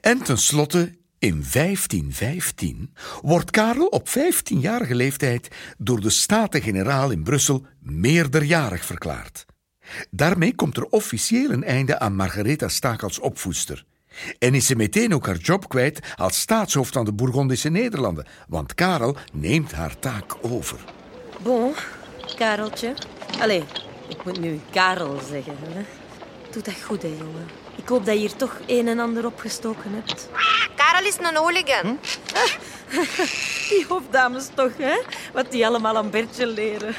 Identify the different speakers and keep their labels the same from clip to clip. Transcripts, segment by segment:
Speaker 1: En tenslotte, in 1515 wordt Karel op 15-jarige leeftijd door de Staten-Generaal in Brussel meerderjarig verklaard. Daarmee komt er officieel een einde aan Margaretha Staak als opvoedster. En is ze meteen ook haar job kwijt als staatshoofd van de Bourgondische Nederlanden, want Karel neemt haar taak over.
Speaker 2: Bon, Kareltje. Allee, ik moet nu Karel zeggen. Hè? Doe dat goed, hè, jongen. Ik hoop dat je hier toch een en ander opgestoken hebt.
Speaker 3: Karel is een hooligan.
Speaker 2: Die hofdames toch, hè? Wat die allemaal aan Bertje leren.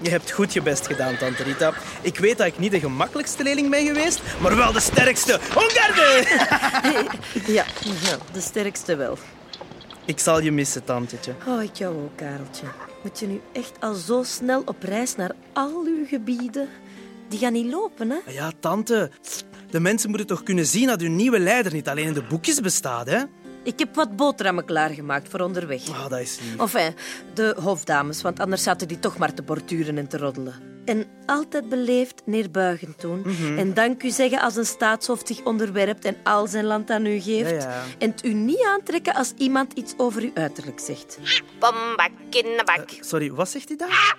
Speaker 4: Je hebt goed je best gedaan, Tante Rita. Ik weet dat ik niet de gemakkelijkste leerling ben geweest, maar wel de sterkste. Ongarde!
Speaker 2: Ja, nou, de sterkste wel.
Speaker 4: Ik zal je missen, tantetje.
Speaker 2: Oh, ik jou ook, Kareltje. Moet je nu echt al zo snel op reis naar al uw gebieden? Die gaan niet lopen, hè?
Speaker 4: Maar Ja, tante. De mensen moeten toch kunnen zien dat hun nieuwe leider niet alleen in de boekjes bestaat, hè?
Speaker 2: Ik heb wat boterhammen klaargemaakt voor onderweg.
Speaker 4: Ah, dat is lief.
Speaker 2: Enfin, de hofdames, want anders zaten die toch maar te borduren en te roddelen. En altijd beleefd neerbuigend doen.
Speaker 4: Mhm.
Speaker 2: En dank u zeggen als een staatshoofd zich onderwerpt en al zijn land aan u geeft.
Speaker 4: Ja, ja.
Speaker 2: En het u niet aantrekken als iemand iets over uw uiterlijk zegt.
Speaker 3: Bombak, kinderbak.
Speaker 4: Sorry, wat zegt hij daar?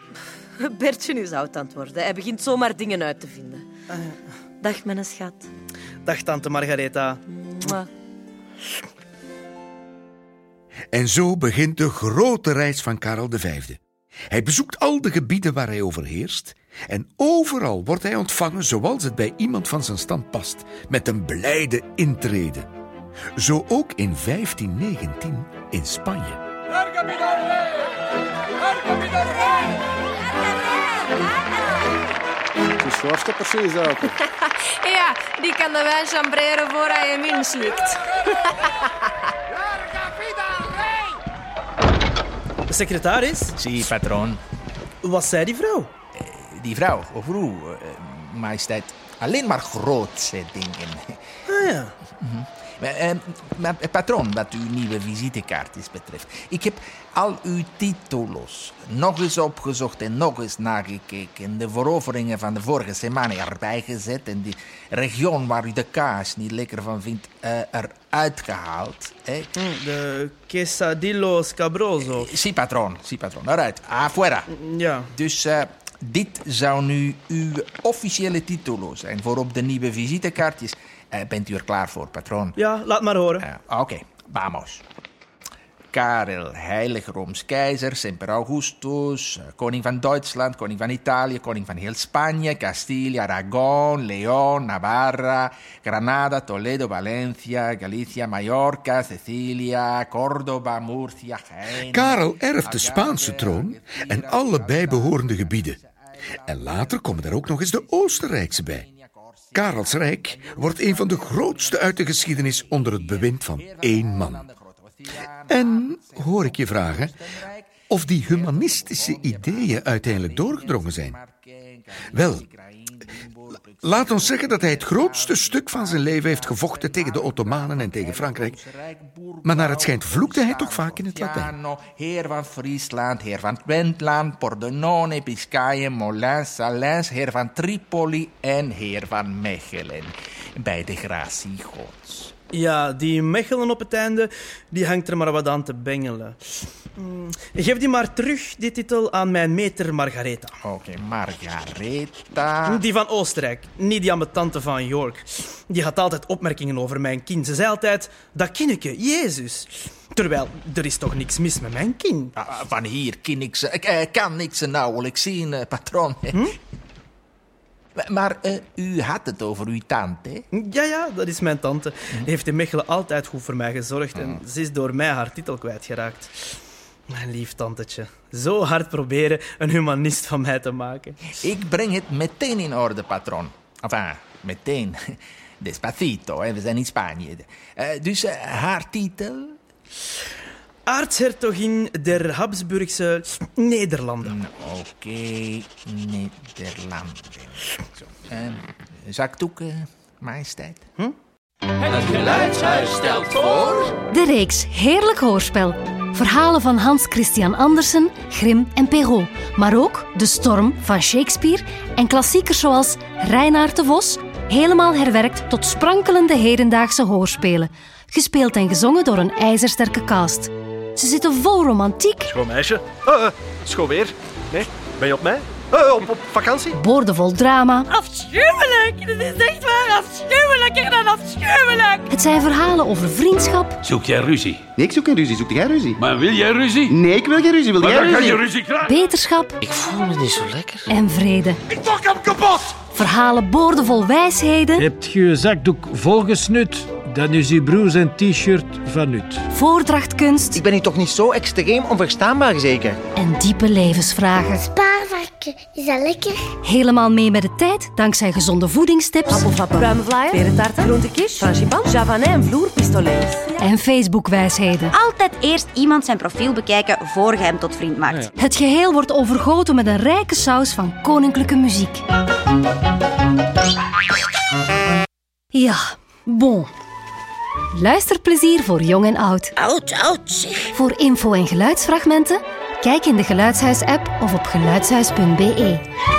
Speaker 2: Bertje is oud aan het worden. Hij begint zomaar dingen uit te vinden.
Speaker 4: Ah,
Speaker 2: Dag, mijn schat.
Speaker 4: Dag, tante Margaretha.
Speaker 2: Mwah.
Speaker 1: En zo begint de grote reis van Karel V. Hij bezoekt al de gebieden waar hij overheerst en overal wordt hij ontvangen zoals het bij iemand van zijn stand past, met een blijde intrede. Zo ook in 1519 in Spanje.
Speaker 5: Toen schorst dat precies ook.
Speaker 3: Ja, die kan de wijn chambreren voor hij hem inslikt.
Speaker 4: De secretaris,
Speaker 6: Zie, patroon.
Speaker 4: wat zei die vrouw?
Speaker 6: Die vrouw, of vrouw, eh, majesteit. Alleen maar grootse dingen.
Speaker 4: Ah ja,
Speaker 6: Maar, eh, maar, eh, patroon, wat uw nieuwe visitekaart is betreft. Ik heb al uw titels nog eens opgezocht en nog eens nagekeken. De veroveringen van de vorige semane erbij gezet. En die regio waar u de kaas niet lekker van vindt, eh, eruit gehaald. hè.
Speaker 4: Hm, de quesadillo scabroso.
Speaker 6: Zie, patroon, zie, patroon. Eruit, Ah, afuera.
Speaker 4: Ja,
Speaker 6: Dus eh, dit zou nu uw officiële titolo zijn voor op de nieuwe visitekaartjes. Eh, bent u er klaar voor, patroon?
Speaker 4: ja, laat maar horen.
Speaker 6: Eh, Oké, vamos. Karel, heilig Rooms keizer, Semper Augustus, eh, koning van Duitsland, koning van Italië, koning van heel Spanje, Castilla, Aragon, León, Navarra, Granada, Toledo, Valencia, Galicia, Mallorca, Sicilia, Córdoba, Murcia, Jaén...
Speaker 1: Karel erft de Spaanse troon en alle bijbehorende gebieden. En later komen er ook nog eens de Oostenrijkse bij. Karels Rijk wordt een van de grootste uit de geschiedenis onder het bewind van één man. En hoor ik je vragen of die humanistische ideeën uiteindelijk doorgedrongen zijn? Wel, laat ons zeggen dat hij het grootste stuk van zijn leven heeft gevochten tegen de Ottomanen en tegen Frankrijk. Maar naar het schijnt vloekte hij toch vaak in het Latijn.
Speaker 6: Latijn. Heer van Friesland, heer van Twentland, Pordenone, Biscayen, Molins, Salins, heer van Tripoli en heer van Mechelen. Bij de gratie gods.
Speaker 4: Ja, die Mechelen op het einde, die hangt er maar wat aan te bengelen. Mm, Geef die maar terug, die titel, aan mijn meter Margaretha.
Speaker 6: Oké, Margaretha.
Speaker 4: Die van Oostenrijk, niet die ambetante van York. Die had altijd opmerkingen over mijn kind. Ze zei altijd, dat kindje, Jezus. Terwijl, er is toch niks mis met mijn kind?
Speaker 6: Ah, Van hier kan ik ze, ik, eh, kan ik ze nauwelijks zien, eh, patroon. Maar- Maar eh, u had het over uw tante. hè?
Speaker 4: Ja, ja, dat is mijn tante. Die heeft in Mechelen altijd goed voor mij gezorgd en ze is door mij haar titel kwijtgeraakt. Mijn lief tantetje, zo hard proberen een humanist van mij te maken.
Speaker 6: Ik breng het meteen in orde, patroon. Enfin, meteen. Despacito, hè, we zijn in Spanje. Eh, dus eh, haar titel?
Speaker 4: Aartshertogin der Habsburgse Nederlanden.
Speaker 6: Oké, Nederlanden. Zo. Eh, zakdoeken, majesteit.
Speaker 7: De reeks Heerlijk Hoorspel. Verhalen van Hans Christian Andersen, Grimm en Perrault. Maar ook De Storm van Shakespeare en klassiekers zoals Reinaard de Vos, helemaal herwerkt tot sprankelende hedendaagse hoorspelen, gespeeld en gezongen door een ijzersterke cast. Ze zitten vol romantiek,
Speaker 8: Schoon meisje. Eh, eh, schoon weer. Nee, ben je op mij? Eh, op, op vakantie?
Speaker 7: boordevol drama.
Speaker 9: Afschuwelijk! Dit is echt waar afschuwelijker dan afschuwelijk!
Speaker 7: Het zijn verhalen over vriendschap,
Speaker 10: Zoek jij ruzie?
Speaker 5: Nee, ik zoek geen ruzie. Zoek jij ruzie?
Speaker 10: Maar wil jij ruzie?
Speaker 5: Nee, ik wil geen ruzie. Wil
Speaker 10: Maar
Speaker 5: jij
Speaker 10: dan kan
Speaker 5: ruzie?
Speaker 10: je ruzie krijgen.
Speaker 7: beterschap
Speaker 9: Ik voel me niet zo lekker.
Speaker 7: en vrede.
Speaker 10: Ik pak hem kapot!
Speaker 7: Verhalen boordevol wijsheden,
Speaker 11: Hebt je zakdoek volgesnut? Dan is uw broer zijn t-shirt van nut.
Speaker 7: voordrachtkunst
Speaker 9: Ik ben hier toch niet zo extreem onverstaanbaar, zeker?
Speaker 7: en diepe levensvragen.
Speaker 9: Spaarvarken, is dat lekker?
Speaker 7: Helemaal mee met de tijd dankzij gezonde voedingstips
Speaker 2: Appelvappen, pruimenvlaaier, perentaarten, groentekies, frangipan, javanet en vloerpistolets.
Speaker 7: en Facebookwijsheden.
Speaker 9: Altijd eerst iemand zijn profiel bekijken voor je hem tot vriend maakt.
Speaker 7: Het geheel wordt overgoten met een rijke saus van koninklijke muziek. Ja, bon. Luisterplezier voor jong en oud.
Speaker 9: Oud, oud, zeg.
Speaker 7: Voor info en geluidsfragmenten, kijk in de Geluidshuis-app of op geluidshuis.be.